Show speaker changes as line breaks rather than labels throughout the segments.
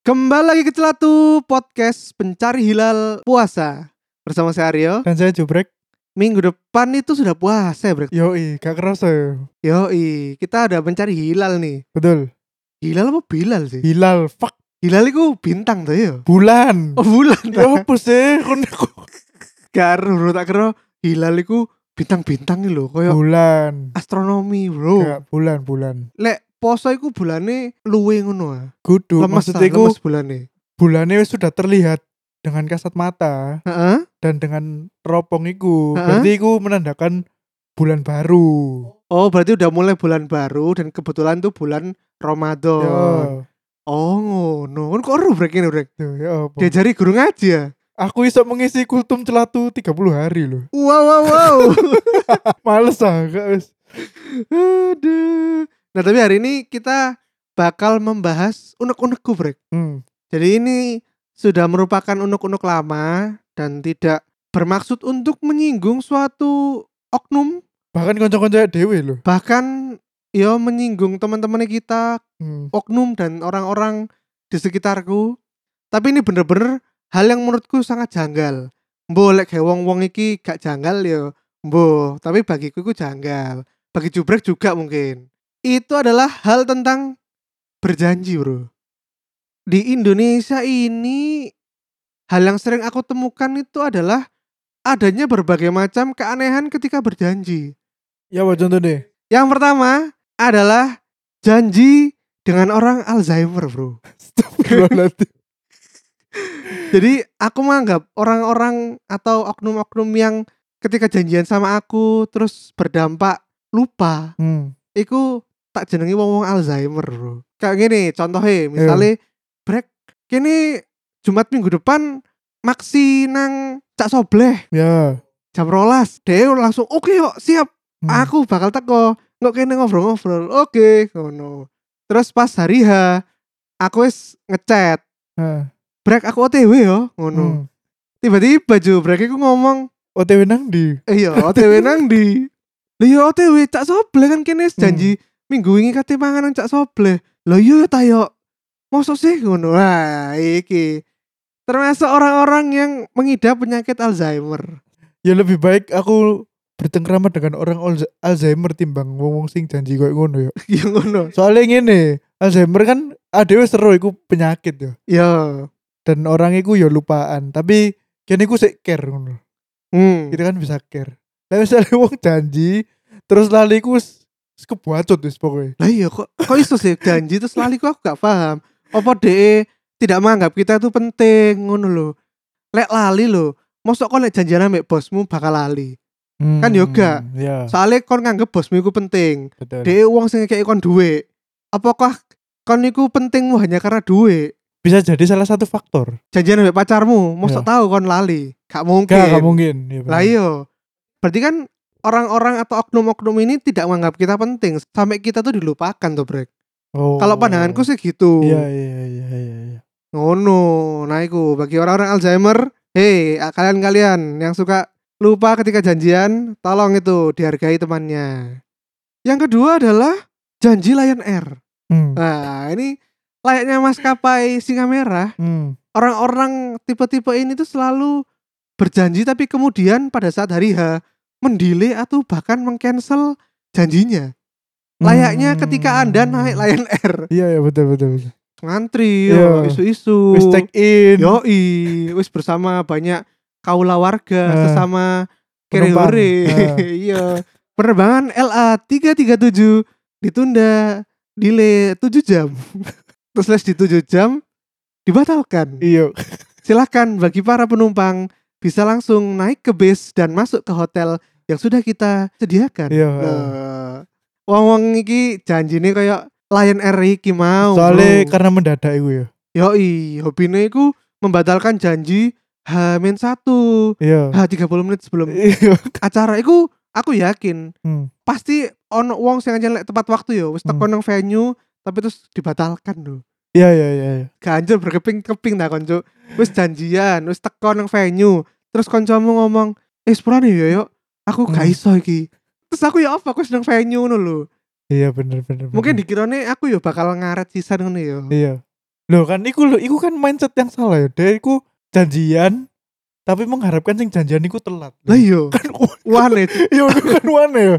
Kembali lagi ke Celatu Podcast Pencari Hilal Puasa Bersama saya Aryo
Dan Kan saya Jubrek
Minggu depan itu sudah puasa ya Brek
Yoi, gak kerasa ya
Yoi, kita ada mencari hilal nih
Betul
Hilal apa Bilal sih?
Hilal, fuck
Hilal itu bintang tuh ya
Bulan
Oh bulan
Ya apa sih Kon-
Gar, bro tak kira Hilal itu bintang-bintang nih loh Kayak
Bulan
astronomi bro
Gak, bulan, bulan
Lek poso itu bulannya luwe ngono ah.
Kudu,
Lemes
maksud
maksudnya
iku
lemes bulannya
Bulannya wis sudah terlihat Dengan kasat mata
Heeh.
Dan dengan teropong iku
Ha-ha.
Berarti iku menandakan Bulan baru
Oh berarti udah mulai bulan baru Dan kebetulan tuh bulan Ramadan
Ya
Oh ngono Kan kok rubrek ini Brek
Tuh, ya apa
Diajari guru ngaji ya
Aku iso mengisi kultum celatu 30 hari loh
Wow wow wow
Males ah gak wis
Aduh Nah tapi hari ini kita bakal membahas unek-unekku Brek
Hmm
Jadi ini sudah merupakan unek-unek lama Dan tidak bermaksud untuk menyinggung suatu oknum
Bahkan konco-konco dewe loh
Bahkan ya menyinggung teman-teman kita
hmm.
oknum dan orang-orang di sekitarku. Tapi ini bener-bener hal yang menurutku sangat janggal. Boleh kayak wong-wong iki gak janggal ya. Mbo, tapi bagiku itu janggal. Bagi Jubrek juga mungkin. Itu adalah hal tentang berjanji, Bro. Di Indonesia ini hal yang sering aku temukan itu adalah adanya berbagai macam keanehan ketika berjanji.
Ya apa contoh deh
Yang pertama adalah janji dengan orang Alzheimer, bro.
Astagfirullahaladzim
Jadi aku menganggap orang-orang atau oknum-oknum yang ketika janjian sama aku terus berdampak lupa,
hmm.
itu tak jenengi wong-wong Alzheimer, bro. Kayak gini, contohnya misalnya brek kini Jumat minggu depan maksi nang Cak Sobleh
Ya.
jam rolas Deo langsung oke kok siap
Hmm.
aku bakal teko nggak kene ngobrol-ngobrol oke ngono terus pas hari H aku wis ngechat
Heeh.
brek aku OTW yo ngono
Hmm.
tiba-tiba jo brek aku ngomong
OTW nang di.
iya OTW nang di iya, lho yo OTW cak soble kan kene wis janji
Hmm.
minggu ini kate mangan nang cak soble lho yo tayo mosok sih ngono wah iki termasuk orang-orang yang mengidap penyakit Alzheimer
Ya lebih baik aku bercengkrama dengan orang Alz- Alzheimer timbang wong-wong sing janji koyo ngono ya.
yang ngono
Soalnya ngene, Alzheimer kan adewe seru iku penyakit ya.
yo
Dan orang iku ya lupaan, tapi kene iku sik care ngono.
hmm.
Kita kan bisa care. Lah misalnya wong janji terus lali iku wis wis kebacut wis pokoknya.
Lah iya kok kok iso sih janji terus lali kok aku gak paham. Apa DE tidak menganggap kita itu penting ngono lho. Lek lali lho, mosok kok lek janjian ambek bosmu bakal lali. Kan yo gak.
Ya,
Soale kon nganggep bosmu iku penting.
betul.
DE wong sing ngekeki kon duwe. Apakah kon iku pentingmu hanya karena duwe?
Bisa jadi salah satu faktor.
Janjian ambek pacarmu, mosok
Iya.
tahu kon lali. Gak mungkin.
Gak, gak mungkin. Ya,
Lah
bener.
iya. Berarti kan orang-orang atau oknum-oknum ini tidak menganggap kita penting sampai kita tuh dilupakan tuh, Brek.
Oh.
Kalau pandanganku sih gitu.
Iya, iya, iya, iya, iya.
Ngono, nah iku bagi orang-orang Alzheimer, hei ah, kalian-kalian yang suka lupa ketika janjian, tolong itu dihargai temannya. Yang kedua adalah janji Lion Air.
Hmm.
Nah, ini layaknya maskapai singa merah,
Hmm.
orang-orang tipe-tipe ini tuh selalu berjanji tapi kemudian pada saat hari H mendile atau bahkan mengcancel janjinya. Layaknya
Hmm.
ketika Anda naik Lion Air,
Iya ya betul betul. betul.
ngantri,
Iya.
yo, isu-isu.
Wis check in.
Yoi, wis bersama banyak kaula warga
Eh,
sesama
penumpang. Eh.
kerewere. Iya. Penerbangan LA 337 ditunda delay 7 jam. Terus les di 7 jam dibatalkan.
Iya.
Silahkan bagi para penumpang bisa langsung naik ke base dan masuk ke hotel yang sudah kita sediakan.
Iya.
Nah, Wong-wong iki janjine kayak Lion Air iki mau.
Nah. Soalnya kan
bro.
karena mendadak iku ya.
Yoi, hobine iku membatalkan janji H-1,
Iya.
H30 menit sebelum
Iya.
acara iku aku yakin
Hmm.
pasti ono wong sing aja lek tepat waktu yo wis teko
Hmm.
nang venue tapi terus dibatalkan lho.
Iya iya iya. iya.
ganjel berkeping-keping dah konco wis janjian wis teko nang venue terus koncomu ngomong eh sepurane yo yo aku gak
Hmm.
iso iki terus aku ya apa aku sedang venue ngono lho
Iya bener bener. bener.
mungkin dikirane aku yo bakal ngaret sisan ngono yo
Iya. Loh kan iku lho, iku kan mindset yang salah ya. Dia iku janjian tapi mengharapkan sing janjian iku telat.
lah iya. yo
kan u-
wah nih
ya iku kan aneh ya.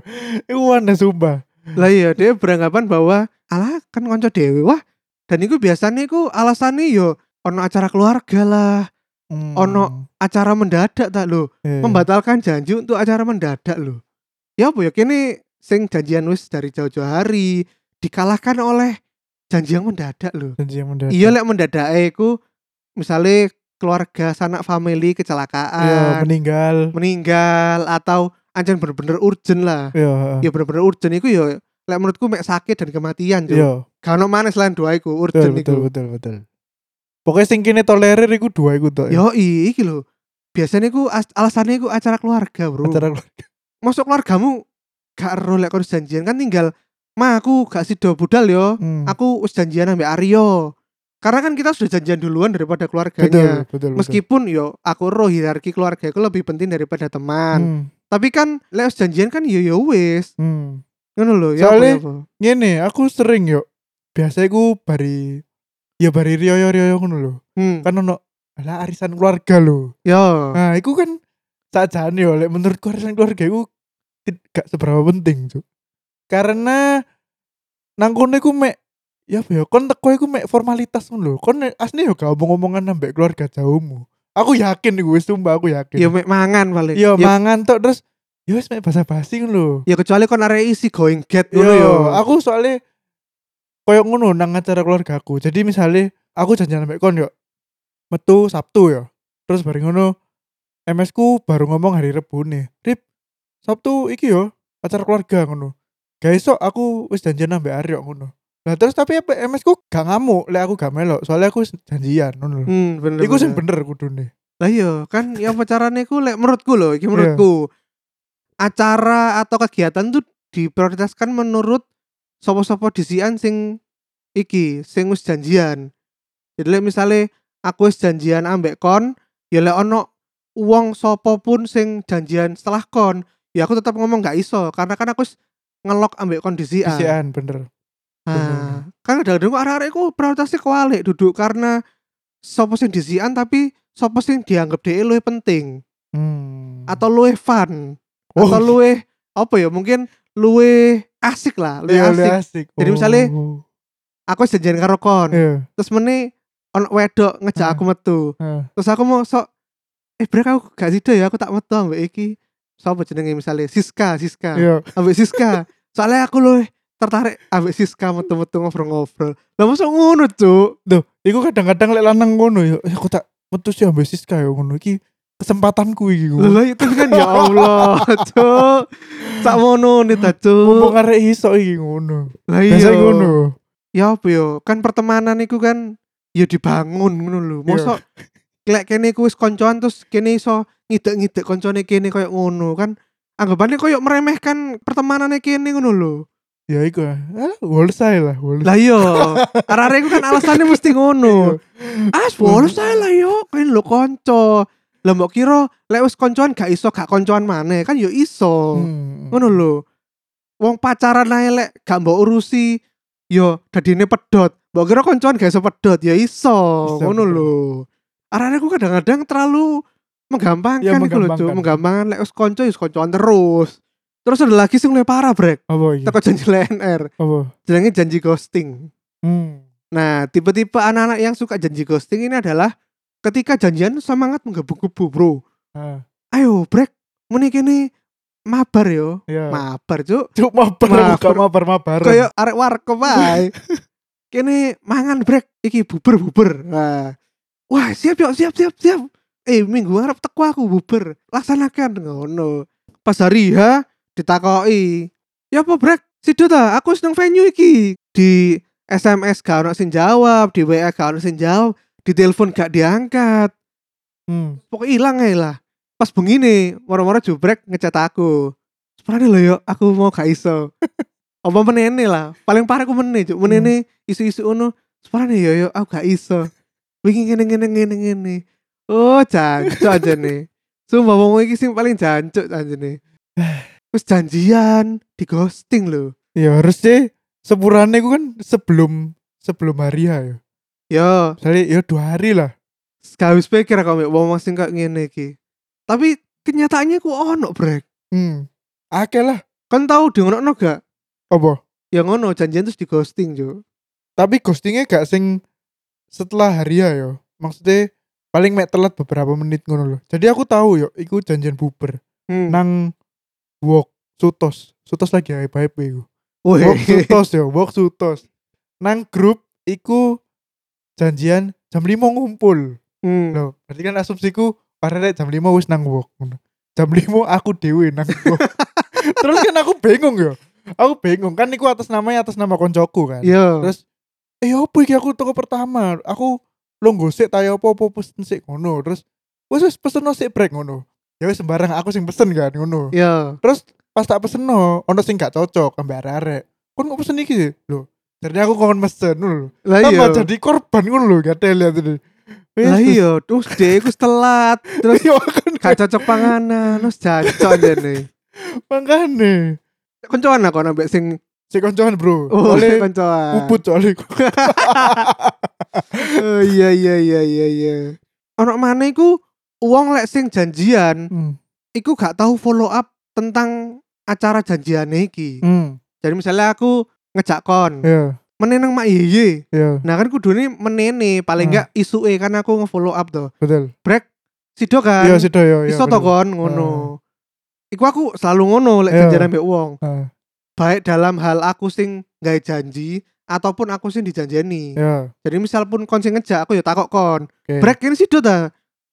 Iku aneh sumpah.
lah iya dia beranggapan bahwa alah kan konco dewe wah dan itu biasanya itu alasannya yo ya ono acara keluarga lah
Hmm.
Ono- acara mendadak tak lo
Iya.
membatalkan janji untuk acara mendadak lo ya apa ya kini sing janjian wis dari jauh-jauh hari dikalahkan oleh janji yang mendadak lo
janji yang mendadak.
iya lek mendadak iku misalnya keluarga sanak family
Iya,
kecelakaan
meninggal.
meninggal atau anjir bener-bener urgent lah
Iya.
ya bener-bener urgent itu ya lek menurutku mek sakit dan kematian Cuk.
Iya.
Gak ono maneh selain dua iku,
Betul
urgent
betul
iku.
betul betul. Pokoknya sing kene tolerir iku dua iku tok. ya.
Yo iki lho. Biasanya iku as- alasannya iku acara keluarga, Bro.
Acara keluarga.
Masuk keluargamu gak ero lek kon janjian kan tinggal ma aku gak sido budal yo.
Hmm.
Aku wis janjian ambek Aryo. Karena kan kita sudah janjian duluan daripada
betul,
keluarganya.
betul, betul.
Meskipun yo aku roh hierarki keluarga itu lebih penting daripada teman.
Hmm,
Tapi kan lek wis janjian kan yo yo wis.
hmm.
Ngono lho ya. apa,
Soalnya-
ya apa.
Ngene, aku sering yo. Biasa iku bari ya bari riyo-riyo ngono lho.
Hmm.
kan ono lah arisan keluarga lho.
Yo.
Nah, iku kan sajane yo lek menurutku arisan keluarga iku tid- gak seberapa penting, Cuk. Karena nang kono iku mek ya apa ya kon teko iku mek formalitas ngono lho. Kon nek- asli yo gak omong-omongan ambek keluarga jauhmu. Aku yakin iku wis sumpah aku yakin.
Yo Iya, mek Iya. mangan paling.
Yo,
Yo-
mangan tok terus yo wis mek basa-basi ngono lho.
Ya kecuali kon arek isi going get
Yo,
ngono yo.
aku soalnya koyo ngono nang acara keluarga aku. Jadi misalnya aku janjian ambek kon yo metu Sabtu yo. Terus bareng ngono MS ku baru ngomong hari Rebu nih. Rip, Sabtu iki yo acara keluarga ngono. Gak iso aku wis janjian ambek Aryo ngono. Lah terus tapi apa, MS ku gak ngamuk, lek aku gak melok. Soalnya aku wis janjian ngono lho.
Hmm, bener.
Iku sing
bener.
bener kudune.
Lah iya, kan ya apa carane ku lek menurutku loh,
Iya.
iki menurutku. Acara atau kegiatan tuh diprioritaskan menurut sapa-sapa disian sing iki, sing wis janjian. Jadi lek misale aku wis janjian ambek kon, ya lek ono wong sapa pun sing janjian setelah kon, ya aku tetap ngomong gak iso karena kan aku wis ngelok ambek kondisi A.
Isian bener.
Ah, kan kadang-kadang kok arek-arek ku prioritasnya kewalik duduk karena sopo sing disian tapi sopo sing dianggap dhewe luwih penting
Hmm.
atau luwih fun
Oh,
atau luwih apa ya mungkin luwih asik lah luwih
iya,
asik.
luwih asik.
Jadi misalnya,
Oh,
Aku janjian karo kon.
iya.
Terus meni ono wedok ngejak
Ah.
aku metu.
Ah.
Terus aku mau sok eh brek aku gak sida ya aku tak metu ambek iki. Sopo jenenge misalnya Siska, Siska.
Iya.
ambek Siska. Soalnya aku luwih tertarik ambek Siska metu-metu ngobrol-ngobrol. Lah mosok ngono, Cuk.
Duh, iku kadang-kadang lek lanang ngono ya, "Eh, aku tak metu sih ambek Siska ya ngono iki kesempatanku iki ngono.
Lah itu kan ya Allah, Cuk. Sak mono nih ta,
Mumpung
Cuk.
arek iso iki ngono.
Lah
Biasa
oh. iya.
ngono.
Ya apa yo, kan pertemanan iku kan ya dibangun ngono lho.
Iya.
Mosok lek kene iku wis koncoan terus kene iso ngidek-ngidek koncone kene koyo ngono kan anggapannya koyo meremehkan pertemanannya kene ngono lho.
Ya iku. Ah, wolsai lah, wolsai.
Lah iya, arek-arek iku kan alasannya mesti ngono.
Iya.
Ah, sepuluh saya lah yo, kan lo konco. Lah mbok kira lek wis koncoan gak iso gak koncoan maneh, kan yo iso.
Hmm.
Ngono lho. Wong pacaran ae lek gak mbok urusi yo dadine pedot. Mbok kira koncoan gak iso pedot, ya iso.
Iso,
Ngono
betul.
lho. Arane ku kadang-kadang terlalu
Ya,
menggampangkan iku lho, Cuk.
menggampangkan.
Menggampangkan lek wis konco ya wis koncoan terus. Terus ada lagi sing lebih parah, Brek.
Apa iki?
Teko janji LNR,
Apa?
jenenge janji ghosting.
Hmm.
Nah, tipe-tipe anak-anak yang suka janji ghosting ini adalah ketika janjian semangat menggebu-gebu, Bro.
Ah,
Ayo, break. Meni kene mabar yo.
ya.
Mabar, Cuk.
Cuk mabar
Mabar.
aku gak mabar mabar.
Kayak arek warkop ae. kene mangan break iki buber-buber. Nah. Wah, siap yo, siap siap siap. Eh, minggu harap teko aku buber. Laksanakan ngono. Pas hari H ditakoki. Ya apa break? Sido ta, aku seneng venue iki. Di SMS gak ono sing jawab, di WA gak ono sing jawab, di telepon gak diangkat.
Hmm.
pokoknya hilang ae lah pas begini moro-moro jubrek ngecat aku sebenarnya lho yo aku mau gak iso apa menene lah paling parah aku menene cuk menene isu-isu ono sebenarnya yo yo aku gak iso wingi ngene ngene ngene ngene oh jancuk aja nih sumpah wong iki sing paling jancuk aja nih terus janjian di ghosting lho
ya harus deh sepurane ku kan sebelum sebelum hari ya yo.
yo
misalnya ya dua hari lah
gak wis pikir aku ambek wong sing kayak ngene iki tapi kenyataannya ku ono brek
hmm akeh lah
kan tahu di ngono gak
apa
ya ngono janjian terus di ghosting cuk
tapi ghostingnya gak sing setelah hari ya yo maksudnya paling mek telat beberapa menit ngono loh jadi aku tahu yo iku janjian buber
Hmm.
nang walk sutos sutos lagi hype hype iku
Weh.
walk sutos yo walk sutos nang grup iku janjian jam 5 ngumpul
Hmm.
loh berarti kan asumsiku paralel jam 5 wis nang walk ngono. jam 5 aku dewe nang walk terus kan aku bingung yo aku bingung kan iku atas namanya atas nama koncoku kan
Yo.
Terus eh apa iki aku toko pertama? Aku longgo sik ta ya apa apa pesen sik ngono. Terus wis wis pesenno sik break ngono. Ya wis sembarang aku sing pesen kan ngono.
Yo.
Terus pas tak pesenno ono sing gak cocok ambek arek-arek. Kon kok pesen iki lho. Ternyata aku kon mesen ngono lho.
Lah
Tambah
iya.
jadi korban ngono lho gak lihat tadi.
Lah iya, terus dia iku telat, terus
Iya kan
gak cocok panganan, terus jancok jane.
makane.
Koncoan aku nambah sing
Si koncoan bro.
oh,
Oleh
koncoan.
ubut soalnya
Oh, iya iya iya iya iya. Ono mana iku wong lek sing janjian,
hmm.
iku gak tahu follow up tentang acara janjiane iki.
hmm.
Jadi misalnya aku ngejak kon,
Ya,
menenang mak yeye.
ya,
Nah kan kudune menene paling enggak
Hmm.
isuke karena aku nge-follow up to.
betul.
Sido kan.
Iya, sido ya, ya.
iso to
bener.
kon ngono. Iku aku selalu ngono lek
Iya.
janjian ambek wong.
Ah,
Baik dalam hal aku sing gawe janji ataupun aku sing dijanjeni.
Ya.
Jadi misal pun kon sing ngejak aku ya takok kon.
Oke.
Brek kene sido ta?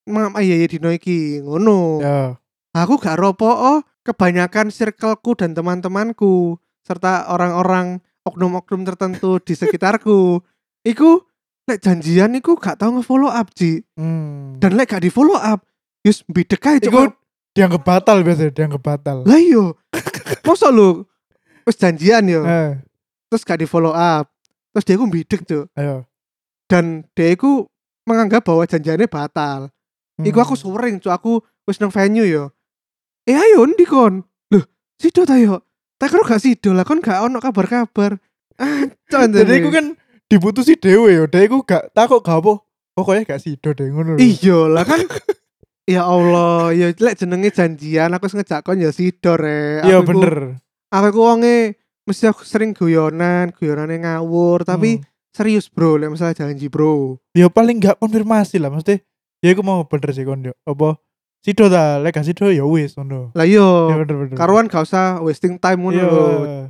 Mam iya iya dino iki ngono.
Ya.
Aku gak ropo oh kebanyakan circleku dan teman-temanku serta orang-orang oknum-oknum tertentu di sekitarku. Iku lek janjian iku gak tau nge-follow up, Ji.
Hmm.
Dan lek gak di-follow up, yus bidek ae Cuk.
Iku dianggap batal biasanya, dianggap batal.
Lah iyo. Masa lu terus janjian yo,
Eh,
terus gak di follow up. Terus dia ku mbidek tuh
ayo.
dan dia ku menganggap bahwa janjiannya batal.
Hmm.
Iku aku sering cuk aku wis nang venue yo. Eh ayo ndi kon? Loh, sido ta yo. Tak kira gak sido lah kon gak ono kabar-kabar. Ah,
Jadi aku kan diputusi dewe yo, dewe aku gak takut gak apa. Pokoknya gak sido deh ngono lho.
Iya lah kan Ya Allah, ya lek jenenge janjian aku wis ngejak kon ya sido rek.
Iya
Aku iku-
bener.
Aku iku wonge mesti aku sering guyonan, guyonane ngawur, tapi
Hmm.
serius bro lek masalah janji bro
ya paling gak konfirmasi lah maksudnya. Ya aku mau bener sih kon yo. Apa sido ta, lek gak sido ya wis ngono.
lah
Ya
yo
bener bener.
Oh, karuan gak usah wasting time ngono
Iya.
lho.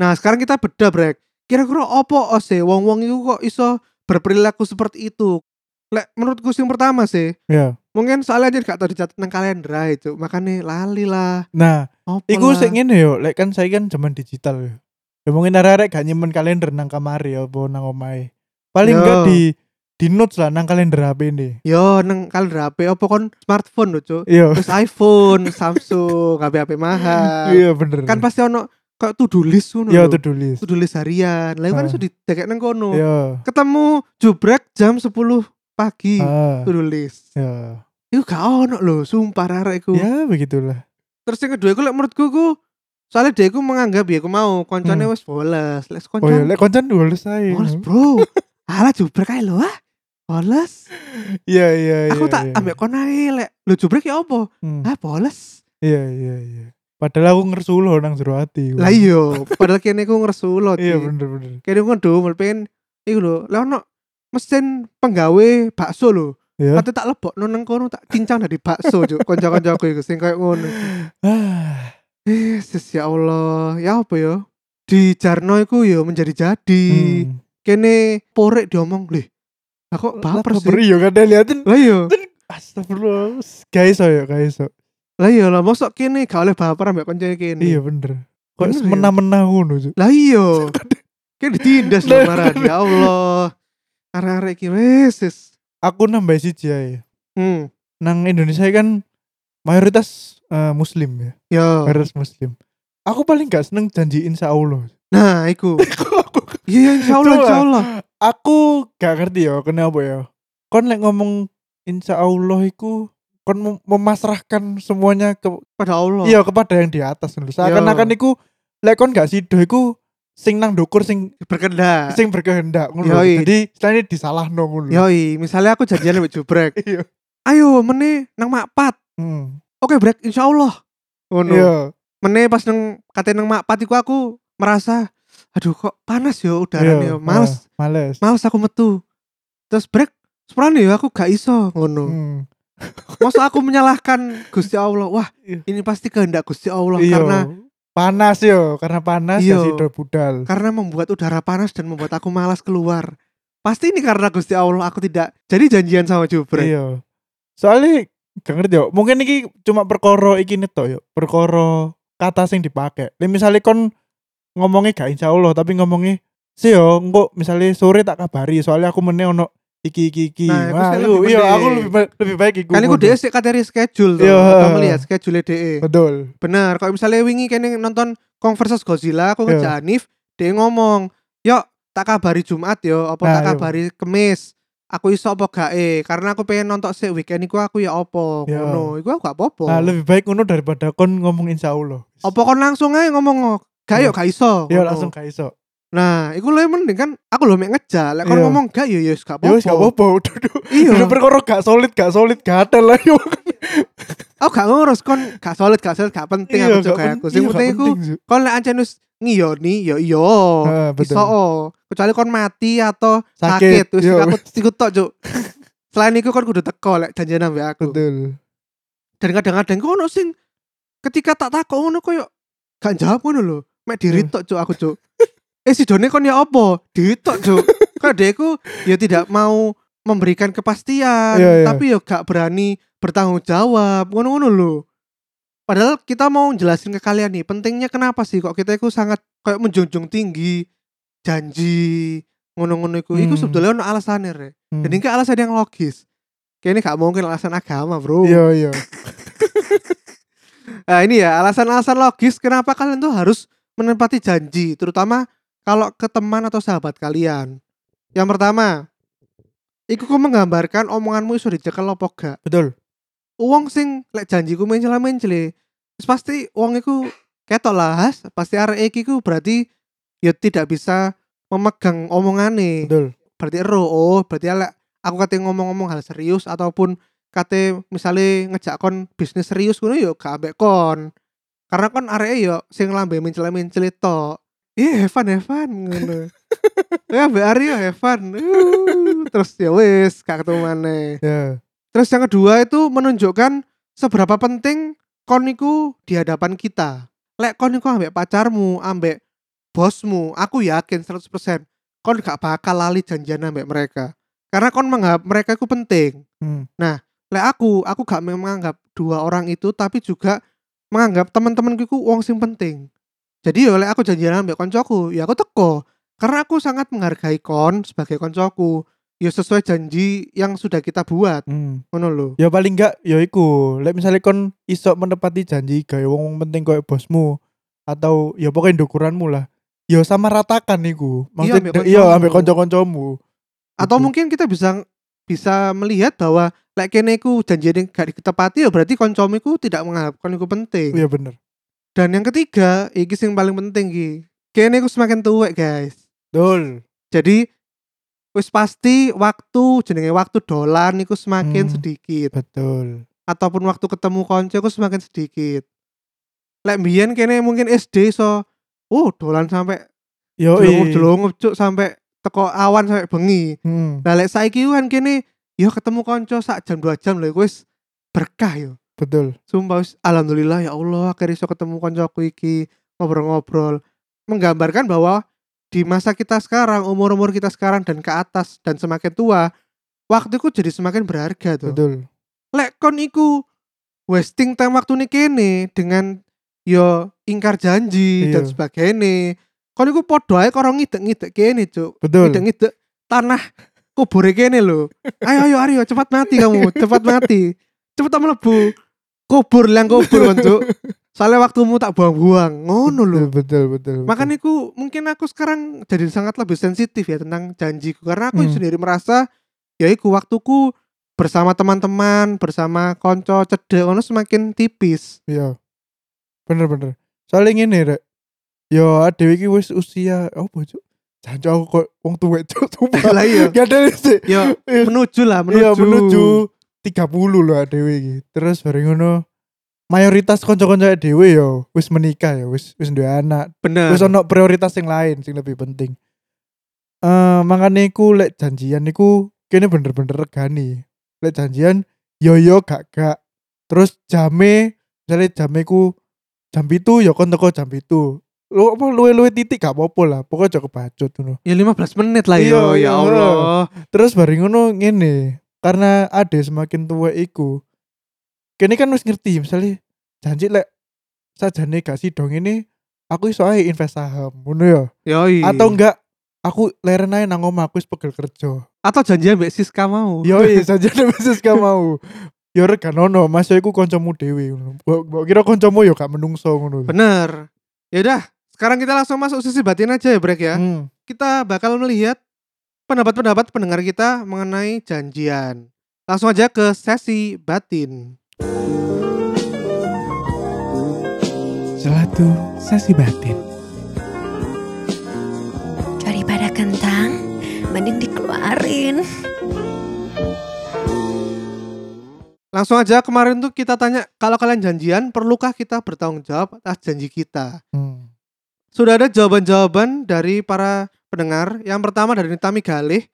nah sekarang kita beda brek kira-kira opo ose wong wong itu kok iso berperilaku seperti itu lek menurutku sing pertama sih
Iya.
mungkin soalnya aja gak tau dicatat nang kalender ae, Cuk. makanya lali lah
Nah,
opo
iku
lah.
sik ngene yo, lek kan saya kan zaman digital yo. Ya mungkin arek-arek gak nyimpen kalender nang kamar ya apa nang omahe. Paling
Yo.
gak di di notes lah nang kalender HP ini.
yo nang kalender HP opo kon smartphone lho cuk
Iya.
terus iPhone Samsung HP HP mahal
Iya bener.
kan pasti ono kayak to do list ngono
Yo
lho.
to do list. Iya.
to do list harian lah iku kan
Ah.
iso didekek nang kono
Yo.
ketemu jubrek jam 10 pagi
Ah.
tulis
Yo.
itu gak ono loh sumpah rarek iku
Ya begitulah.
terus yang kedua iku lek menurutku ku soalnya dia iku menganggap ya aku mau koncone
Hmm.
wis boles lek
Oh ya,
koncan
lek koncan dua list ae.
boles bro ala jubrek ae lho ah boles
Iya iya iya.
aku tak
iya.
ambek kon ae lek lho jubrek ya apa
Hmm.
ah boles
Iya iya iya. Padahal aku ngersu lo nang jero ati.
lah iya, iyo padahal kene aku ngersu lho
Hmm. Iya bener bener.
kene aku ngedumel pengen iku lho lek ono mesin penggawe bakso lho
Iya.
Kata tak lebok nang kono tak cincang dari bakso juk kanca-kancaku iku sing koyo ngono.
Ah.
Yesus ya Allah, ya apa ya? Di Jarno iku ya menjadi jadi.
Hmm.
Kene porek diomong, "Lih, lah kok baper
Baper
sih?"
yo kan liatin.
Lah iya,
Astagfirullah. Guys yo guys.
lah iya lah mosok kene gak oleh baper ambek kanca kene.
Iya bener. Kok
Bener ya?
semena-mena ngono Cuk.
Lah iya. Kene ditindas lho
Lah,
marah ya Allah. Arek-arek iki Yesus.
Aku nambah siji ae.
Hmm.
Nang Indonesia kan mayoritas eh, muslim ya.
Yo,
Mayoritas muslim. aku paling gak seneng janji insya Allah
Nah, iku. Iya, iya, insya Allah,
Coba.
insya Allah.
aku gak ngerti ya kenapa ya kon lek ngomong insya Allah iku kon mem- memasrahkan semuanya ke
Pada Allah.
iya kepada yang di atas dulu seakan-akan iku lek kon gak sido iku sing nang dukur sing
Berkendak.
sing berkehendak ngono lho.
Yoi.
jadi selain disalah ngono lho.
Yoi, misalnya aku janjian sama Jubrek.
iya
Ayo, mene nang makpat.
Hmm.
Oke, Brek, insya Allah. Oh, no.
iya
Mene pas nang kate nang makpat iku aku merasa aduh kok panas yo udaranya yo.
Iya,
Males,
ah, males
males aku metu. Terus Brek, sepurane yo aku gak iso ngono.
Hmm.
Masa aku menyalahkan Gusti Allah. Wah,
Iya.
ini pasti kehendak Gusti Allah
Iya.
karena
panas yo karena panas
Iya.
kasih do budal
karena membuat udara panas dan membuat aku malas keluar. Pasti ini karena Gusti Allah aku tidak jadi janjian sama Jubrek.
iya soalnya gak ngerti yo mungkin iki cuma perkoro iki neto yo perkoro kata sing dipakai Lah misalnya kon ngomongnya gak insya Allah tapi ngomongnya sih yo engko misalnya sore tak kabari soalnya aku meneh ono iki iki iki
Nah, iku
Wah,
sih
iku-
lebih
iya
mending.
aku lebih, ba- lebih baik iku
Kan iku
ngono.
DE sik kateri schedule tuh.
Iya.
Kita melihat schedule DE.
betul
Bener, kalau misalnya wingi kene nonton Kong versus Godzilla, aku
Iya.
ngejak Hanif, DE ngomong, "Yuk, tak kabari Jumat yo, apa
Nah,
tak
iya.
kabari Kemis." Aku iso apa gak eh karena aku pengen nonton sik weekend iku aku ya apa
Iya.
ngono. Iku aku gak apa-apa.
nah lebih baik ngono daripada kon ngomong insya Allah
Oh. Apa kon langsung aja ngomong gak yo gak iso. ngono.
yo Iya. langsung gak iso
Nah, iku lebih mending kan aku lho mek ngejak. Lek kon
Iya.
ngomong gak ya ya wis gak
yo wis gak
apa-apa.
apa-apa duduk
Iya.
duduk perkoro gak solid gak solid gak ada lah yo
Aku gak ngurus kon gak solid gak solid gak penting aku
gak
cok kayak
pen-
aku. Sing
iya, gak
penting iku
penting, Zu.
kon lek ancen wis ngiyoni ya iya.
Ah, betul.
Iso o. kecuali kon mati atau
Sakit,
sakit wis
iya.
aku iku tok cok. Selain iku kon kudu teko lek janjian ambek aku.
Betul.
Dan kadang-kadang ku ono sing ketika tak takok ngono koyo gak jawab ngono lho. Mek
Hmm.
diri tok cuk aku cuk. Eh si Doni kon ya apa? Diri tok cuk. Kadeku ya tidak mau memberikan kepastian,
Iya, iya.
tapi ya gak berani bertanggung jawab. Ngono-ngono lho. Padahal kita mau jelasin ke kalian nih, pentingnya kenapa sih kok kita itu sangat kayak menjunjung tinggi janji ngono-ngono itu. Iku
Hmm.
sebetulnya ono alasannya, Re.
Hmm.
Dan ini alasan yang logis. Kayaknya gak mungkin alasan agama, Bro.
Iya iya.
Nah ini ya alasan-alasan logis kenapa kalian tuh harus menempati janji terutama kalau ke teman atau sahabat kalian. Yang pertama, iku ku menggambarkan omonganmu iso dicekel apa gak.
Betul.
Uang sing lek janjiku mencela mencele, terus pasti uang iku ketok lah has, pasti arek iki ku berarti ya tidak bisa memegang omongane.
Betul.
Berarti ero, oh berarti lek aku kate ngomong-ngomong hal serius ataupun kate misalnya ngejak kon bisnis serius ngono yo gak ambek kon. Karena kon areke yo sing lambe mencel-mencel tok. Iya, Evan, Evan ngono. Ya ambek arek yo Evan. Terus ya wis gak ketemu maneh.
Ya.
Terus yang kedua itu menunjukkan seberapa penting kon iku di hadapan kita. Lek kon iku ambek pacarmu, ambek bosmu, aku yakin 100% kon gak bakal lali janjian ambek mereka. Karena kon menganggap mereka itu penting. Nah,
Hmm.
Lek aku, aku gak menganggap dua orang itu tapi juga menganggap teman-temanku iku wong sing penting. Jadi ya lek aku janjian ambek koncoku, ya aku teko. Karena aku sangat menghargai kon sebagai koncoku. Ya sesuai janji yang sudah kita buat,
Hmm.
ngono lho.
Ya paling enggak ya iku. Lek misalnya kon iso menepati janji gawe wong penting koyo bosmu atau ya pokoknya dokuranmu lah. Ya sama ratakan iku.
ambek
Maksudnya
koncomu.
iya ambek kanca-kancamu.
atau
Gitu.
mungkin kita bisa bisa melihat bahwa lek kene iku janjine gak ditepati ya berarti koncomu iku tidak menganggap kon iku penting.
Iya bener.
Dan yang ketiga, iki sing paling penting iki. Kene iku semakin tuwek, guys.
Betul.
Jadi wis pasti waktu jenenge waktu dolan iku semakin
Hmm.
sedikit
Betul.
ataupun waktu ketemu konco iku semakin sedikit. Lek mbiyen kene mungkin SD so oh dolan sampai
Yo
jelungup-jelungup cuk sampai teko awan sampai bengi.
Hmm.
Nah, lek saiki ku kan kene yo ketemu kanca sak jam 2 jam lho iku wis berkah yo.
Betul.
Sumpah wis alhamdulillah ya Allah akhirnya iso ketemu kancaku iki ngobrol-ngobrol. Menggambarkan bahwa di masa kita sekarang, umur-umur kita sekarang dan ke atas dan semakin tua, waktuku jadi semakin berharga tuh.
Betul.
Lek kon iku wasting time waktu nih kene dengan yo ingkar janji dan
Iya.
sebagainya. Kon iku podo ae karo ngidek-ngidek kene, Cuk
Betul.
ngidek-ngidek tanah kubur kene lho. Ayo ayo Aryo cepat mati kamu, cepat mati. Cepat melebu. Kubur lang kubur Cuk. soalnya waktumu tak buang-buang ngono lho
betul, betul betul betul.
makanya ku mungkin aku sekarang jadi sangat lebih sensitif ya tentang janjiku karena aku
Hmm.
sendiri merasa ya iku waktuku bersama teman-teman bersama konco cedek ngono semakin tipis
Iya. Bener bener. Soalnya ngene rek. Yo dhewe iki wis usia opo cuk? Jancu aku kok wong tuwek cuk tumpah.
lah iya
Gak ada sih.
ya menuju lah menuju,
Iya menuju 30 loh dhewe iki. Terus bareng ngono mayoritas kanca-kanca dhewe yo wis menikah ya, wis wis duwe anak.
bener
Wis ono prioritas yang lain sing lebih penting. Eh makane iku lek janjian niku kene bener-bener regani. Lek janjian yo yo gak gak. Terus jame misalnya jame ku jam itu yo kon teko jam itu. Lu apa luwe-luwe titik gak apa-apa lah. Pokoknya joko bacut ngono.
ya 15 menit lah
Iya,
yo
iya,
ya Allah
Terus bareng ngono ngene, karena ade semakin tua iku. Kene kan wis ngerti misalnya janji lek sajane gak sidong ini aku iso ae invest saham ngono ya.
yoi
atau enggak aku leren aja nang omah aku wis pegel kerja Ya
atau janjian mbak Siska mau
yoi saja bisnis gak mau yo rek gak nono mas yo iku kancamu dhewe ngono. Mbok- mbok kira kancamu yo gak menungso ngono
bener ya udah sekarang kita langsung masuk sisi batin aja ya Brek ya
Hmm,
kita bakal melihat pendapat-pendapat pendengar kita mengenai janjian. Langsung aja ke sesi batin.
selatu sesi batin
Daripada kentang, mending dikeluarin.
Langsung aja kemarin tuh kita tanya kalau kalian janjian perlukah kita bertanggung jawab atas janji kita?
Hmm,
Sudah ada jawaban-jawaban dari para pendengar. Yang pertama dari Nitami Galih,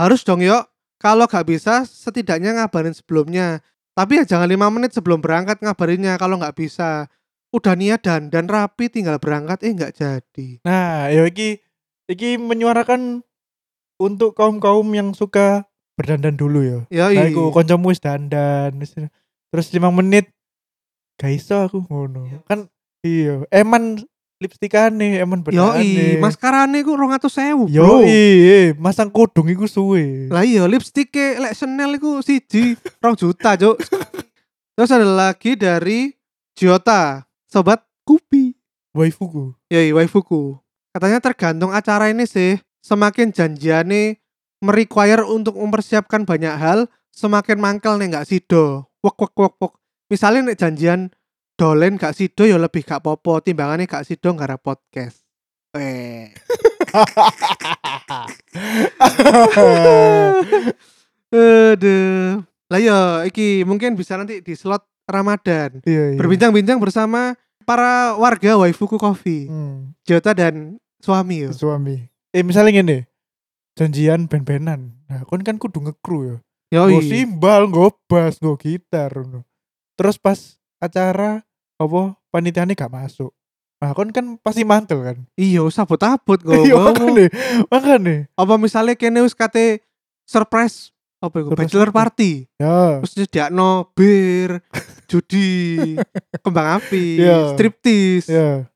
harus dong yuk. Kalau gak bisa setidaknya ngabarin sebelumnya. Tapi ya jangan lima menit sebelum berangkat ngabarinnya kalau nggak bisa. Udah niat dan dan rapi tinggal berangkat eh nggak jadi.
nah yo iki iki menyuarakan untuk kaum kaum yang suka berdandan dulu yo
Yoi.
nah iku kancamu wis dandan wis- terus 5 menit gak iso aku ngono kan iya eman lipstikane eman
Yoi,
bedane
maskarane ku 200.000,
Yo,
Bro.
iya, masang kodong iku suwe.
Lah iya lipstike lek Chanel iku siji 2 juta, Cuk. Terus ada lagi dari Jota, sobat Kupi.
Waifuku.
Yoi, waifuku. Katanya tergantung acara ini sih. Semakin janjiane merequire untuk mempersiapkan banyak hal, semakin mangkel nih nggak sido. Wok wok wok wok. Misalnya nek janjian dolen gak sido ya lebih gak popo timbangannya gak sido nggak ada podcast. Eh. Eh.
Iya,
Aduh. Lah ya iki mungkin bisa nanti di slot Ramadan.
Iya, iya.
Berbincang-bincang bersama para warga waifuku coffee,
Hmm,
Jota dan Ya, suami yo.
suami. Eh, misalnya ngene. Janjian ben-benan. Nah, kon kan kudu ngekru ya. Nggo
Yoi.
simbal, nggo bass, nggo gitar ngono. Terus pas acara apa panitiane gak masuk. Nah, kon kan pasti mantel kan.
Iya, sabot-abot
Iya,
ngomong.
makane. Makane.
Apa misalnya kene wis kate surprise apa iku
Surprise
bachelor
apa?
party.
Ya.
Terus nyediakno bir, judi, kembang api,
Iya.
striptis.
Ya.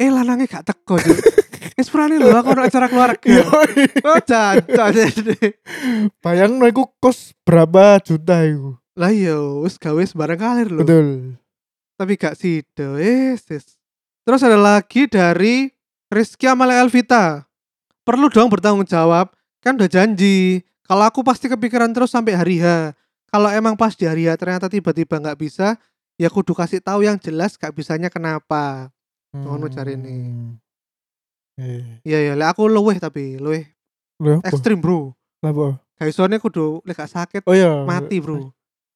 Eh lanangnya gak teko. Cuk. Wis purane lho aku ono acara keluarga.
Iya.
Oh, jancok.
Bayang no iku kos berapa juta iku.
Lah yo, wis gawe sembarang kalir lho.
Betul.
Tapi gak sido. Eh, sis. Terus ada lagi dari Rizky Amalia Elvita. Perlu dong bertanggung jawab. Kan udah janji. Kalau aku pasti kepikiran terus sampai hari H. Kalau emang pas di hari H ternyata tiba-tiba nggak bisa, ya kudu kasih tahu yang jelas gak bisanya kenapa. Ngono carine.
Eh,
Iya ya, lek aku luweh tapi luweh
lho apa?
ekstrim bro.
Lah apa?
Kayak soalnya kudu lek gak sakit
Oh iya.
mati bro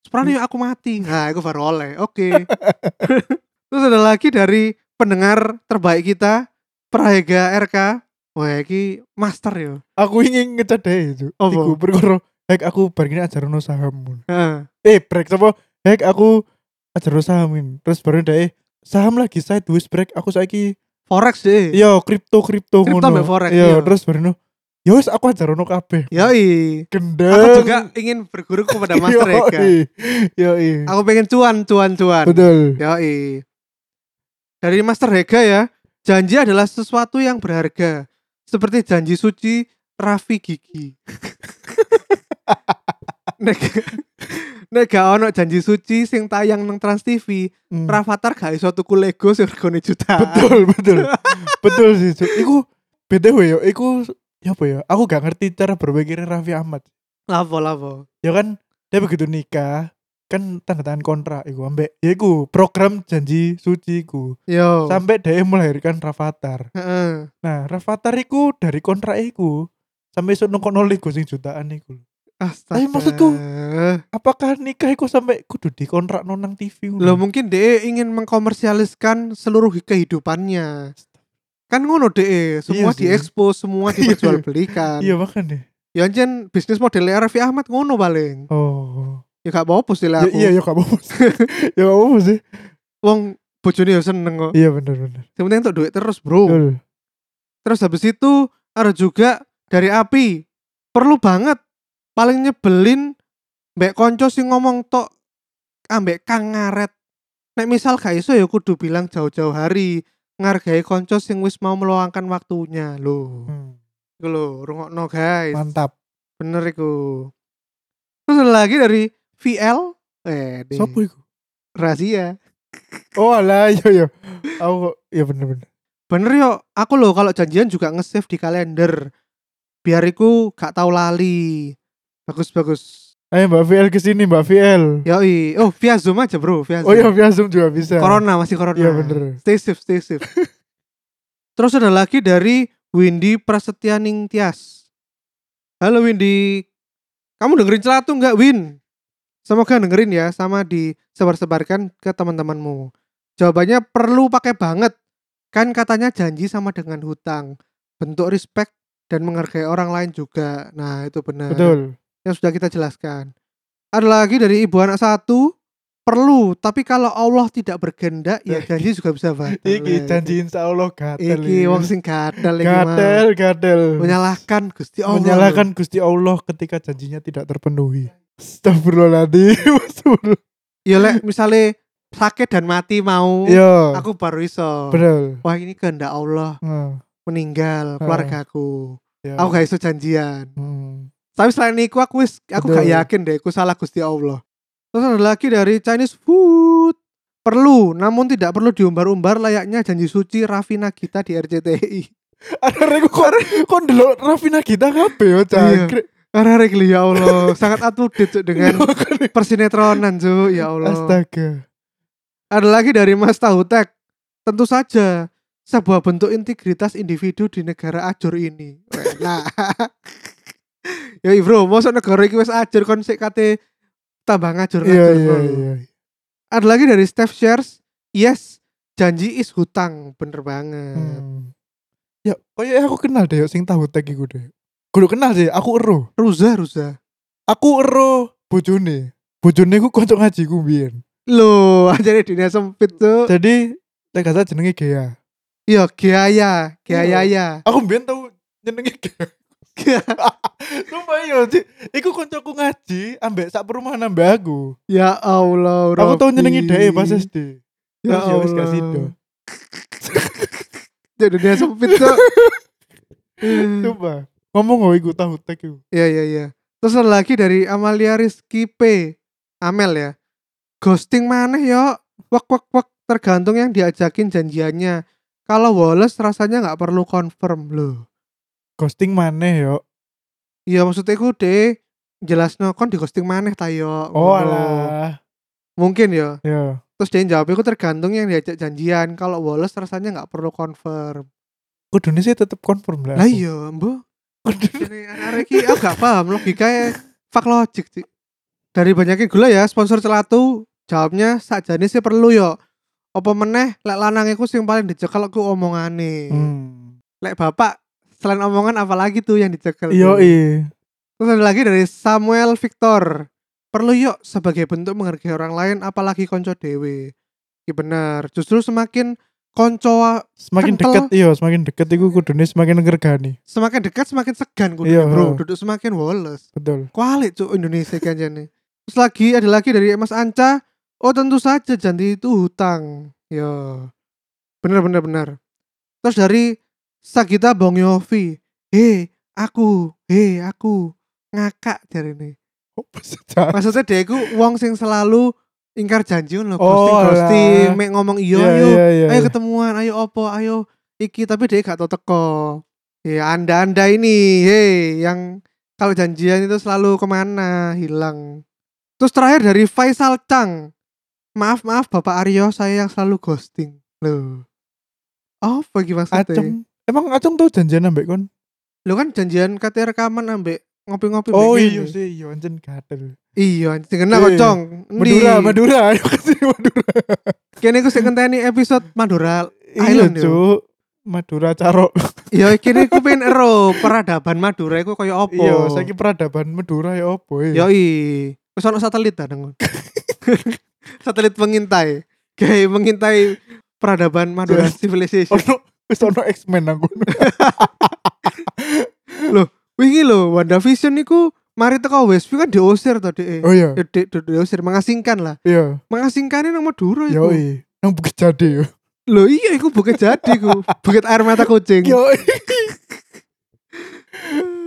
sebenarnya aku mati nah aku baru oleh oke terus ada lagi dari pendengar terbaik kita Praega RK wah ini master ya. yo
Aku ingin ngecat deh itu.
Apa?
Iku perkara hek aku bar ngene ajarono saham.
Heeh.
Eh, break sapa? Hek aku ajarono sahamin. Terus baru deh saham lagi sideways break aku saiki
forex deh
yo kripto kripto
Kripto
ngono.
mbek forex, iya.
Yo, terus baru yo wis aku ajarono kabeh.
yoi
Gendeng.
aku juga ingin berguru kepada Master ya. Ega
Yo,
aku pengen cuan cuan cuan
Betul.
Yoi. Dari Master Hega ya, janji adalah sesuatu yang berharga. Seperti janji suci Raffi Gigi. nek, Nek gak ono janji suci sing tayang nang Trans TV,
Hmm.
Rafathar gak iso tuku Lego sing regane jutaan.
betul betul betul sih Cuk. iku btw yo iku ya apa ya aku gak ngerti cara berpikirnya Raffi Ahmad
Lapo lapo.
ya kan dia begitu nikah kan tanda tangan kontrak iku ambek ya iku program janji suci iku
Yo.
sampai dia melahirkan Rafathar
Heeh.
nah Rafathar iku dari kontrak iku sampai esuk nongkon nol iku sing jutaan iku
Astaga.
Tapi maksudku, apakah nikah iku sampai kudu dikontrak nonang TV ngono?
lo mungkin DE ingin mengkomersialiskan seluruh kehidupannya. Kan ngono DE, semua
Iya sih.
diekspos, semua dijual belikan.
iya makanya
Ya anjen bisnis model Raffi Ahmad ngono paling.
oh
Ya gak apa-apa sih lah
ya,
aku.
iya ya kamu ya kamu sih
Wong bojone ya seneng kok.
iya bener bener
Yang penting untuk duit terus, Bro.
Betul.
Terus habis itu ada juga dari api. Perlu banget paling nyebelin mbek konco sing ngomong tok ambek kang ngaret. Nek misal gak iso ya kudu bilang jauh-jauh hari ngargai konco sing wis mau meluangkan waktunya lho.
Hmm.
Iku lho, rungokno guys.
mantap
Bener iku. Terus ada lagi dari VL eh di
Sopo iku?
rahasia.
Oh alah yo yo. Aku kok- ya bener bener.
Bener yo, aku lho kalau janjian juga nge-save di kalender. Biar iku gak tau lali. Bagus-bagus.
Ayo Mbak VL ke sini Mbak VL.
Yoi, oh via Zoom aja bro, via Zoom.
Oh iya via Zoom juga bisa.
Corona masih corona.
Iya, bener.
Stay safe, stay safe. Terus ada lagi dari Windy Prasetyaning Tias. Halo Windy, kamu dengerin celatu nggak Win? Semoga dengerin ya, sama disebar-sebarkan ke teman-temanmu. Jawabannya perlu pakai banget. Kan katanya janji sama dengan hutang. Bentuk respect dan menghargai orang lain juga. Nah itu benar
Betul.
yang sudah kita jelaskan. Ada lagi dari ibu anak satu perlu, tapi kalau Allah tidak berkehendak ya janji juga bisa batal.
Iya.
ya.
Iki janji insya Allah gatel.
iya, Iki wong sing gatel iki mah. oh,
gatel gatel.
Menyalahkan Gusti Allah.
Menyalahkan Gusti Allah ketika janjinya tidak terpenuhi. Astagfirullahaladzim. Astagfirullah.
Ya lek misale sakit dan mati mau,
Yo.
aku baru iso.
Iya. Bener.
Wah ini kehendak Allah
Nah,
meninggal
Heeh.
keluargaku.
ya.
Aku gak iso janjian.
Hmm.
Tapi selain itu aku wis aku gak
Betul.
yakin deh aku salah Gusti Allah. Terus ada lagi dari Chinese food. Perlu, namun tidak perlu diumbar-umbar layaknya janji suci Rafina kita di RCTI.
Ada rego kok kok ndelok Rafina kita
Iya,
kabeh yo jangkrik.
Arek geli ya Allah, sangat up to date, Cuk, dengan persinetronan Cuk, ya Allah.
Astaga.
Ada lagi dari Mas Tahutek. Tentu saja sebuah bentuk integritas individu di negara ajur ini. Weh, Nah. ya bro, masa negara iki wis ajur kon sik kate tambah ngajur-ngajur.
Iya iya
bro.
iya.
ada lagi dari Steph Shares yes janji is hutang bener banget
Hmm. Ya, kayaknya aku kenal deh, sing tahu tag iku deh. Kudu kenal sih, aku ero.
Ruza Ruza
Aku ero bojone. Bojone ku kanca ngaji ku biyen.
lo aja di dunia sempit tuh
Jadi tak kata jenenge Gea.
iya Giaya Giaya ya
Aku biyen tau jenenge Gea. Sumpah iya, Ci. Iku kancaku ngaji ambek sak perumahan ambek aku.
ya Allah
Aku tau
Robby.
jenenge Dee eh, pas SD.
ya
Terus ya wis gak sido.
Allah di dunia sempit tuh Eh,
Sumpah. Ngomong kok iku tahu tag iku.
ya ya ya terus ada lagi dari Amalia Rizky P Amel ya ghosting maneh yo wek wek wek tergantung yang diajakin janjiannya kalau Wallace rasanya nggak perlu confirm loh
Ghosting maneh yo.
Iya maksudnya aku deh jelasno kon di ghosting maneh ta yo.
Oh
Ngono.
alah.
Mungkin ya.
Yo.
Terus dia jawab aku tergantung yang diajak janjian. Kalau Wallace rasanya nggak perlu confirm.
Kudune sih tetep confirm lah.
Lah
aku.
iya, Mbok.
Kudune
Ini arek iki aku gak paham logikanya fuck logic sih. Dari banyakin gula ya sponsor celatu jawabnya sakjane sih perlu yo. Apa meneh lek lanang iku sing paling dicekel ku omongane.
Hmm.
Lek bapak selain omongan apalagi tuh yang dicekel.
Yo iya.
tuh? Terus ada lagi dari Samuel Victor. Perlu yuk sebagai bentuk menghargai orang lain apalagi konco dewe. Iya benar. Justru semakin konco
semakin
Kental.
dekat iya semakin dekat iku kudune semakin ngergani
semakin dekat semakin segan kudu
Iya,
bro.
heeh.
Duduk semakin woles.
betul
Kualik cuk Indonesia kan jane. Terus lagi ada lagi dari Mas Anca. Oh tentu saja janji itu hutang. Yo. Benar benar benar. Terus dari Sagita Bong Yofi. Hei, aku, hei, aku ngakak dari ini.
Apa sih, Cak?
Maksudnya dia iku wong sing selalu ingkar janji ngono,
Oh,
ghosting ghosting,
alah.
mek ngomong iya
Iya,
ayo,
iya, iya,
ayo
iya.
ketemuan, ayo opo, ayo iki tapi dia gak tau teko. Ya anda-anda ini, hei yang kalau janjian itu selalu kemana hilang. Terus terakhir dari Faisal Chang, maaf maaf Bapak Aryo saya yang selalu ghosting. Loh. Apa iki
Acem.
maksudnya?
Emang Acem tuh janjian ambek kon?
Lo kan janjian katanya rekaman ambek ngopi-ngopi
Oh
begini.
iya sih, iya anjen gatel.
Iya, anjing kena
Iya.
kocong.
Madura,
Endi?
Madura, ayo kesini Madura.
Kene aku sing ngenteni episode Madura.
Iya,
Island, yo.
Cuk. Madura Caro.
Ya kene aku pengen ero peradaban Madura iku koyo opo.
Iya, saiki peradaban Madura ya opo
Yo
ya.
i. Wis ono satelit ta nang. satelit pengintai. Kayak mengintai peradaban Madura
Iya.
Civilization.
Ono wis ono X-Men aku.
Wingi lho WandaVision niku mari teko Westview kan diusir to dhek.
Oh iya,
Ya, di- di- diusir mengasingkan lah.
iya.
Mengasingkannya nang Madura iku.
Yo i. Nang bukit jadi yo.
Lho iya iku bukit jadi iku. Bukit air mata kucing.
Yo.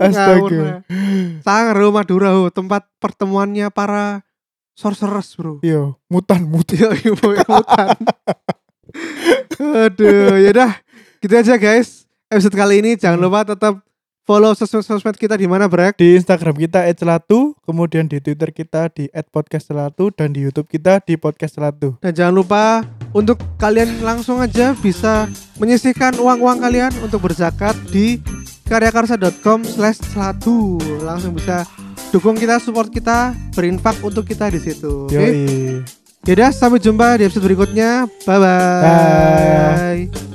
Ngawur,
Astaga.
Sangro Madura ho, tempat pertemuannya para sorcerers bro.
Yo, mutan mutan.
Iya, iya, mau ikutan. Aduh, yaudah gitu aja guys. Episode kali ini jangan lupa tetap follow sosmed-sosmed kita di mana Brek.
Di Instagram kita @celatu, kemudian di Twitter kita di @podcastcelatu dan di YouTube kita di podcastcelatu.
Dan jangan lupa untuk kalian langsung aja bisa menyisihkan uang-uang kalian untuk berzakat di karyakarsa.com slash selatu. Langsung bisa dukung kita, support kita, berinfak untuk kita di situ. Ya Oke?
Yo.
Yaudah, sampai jumpa di episode berikutnya. Bye-bye.
Bye.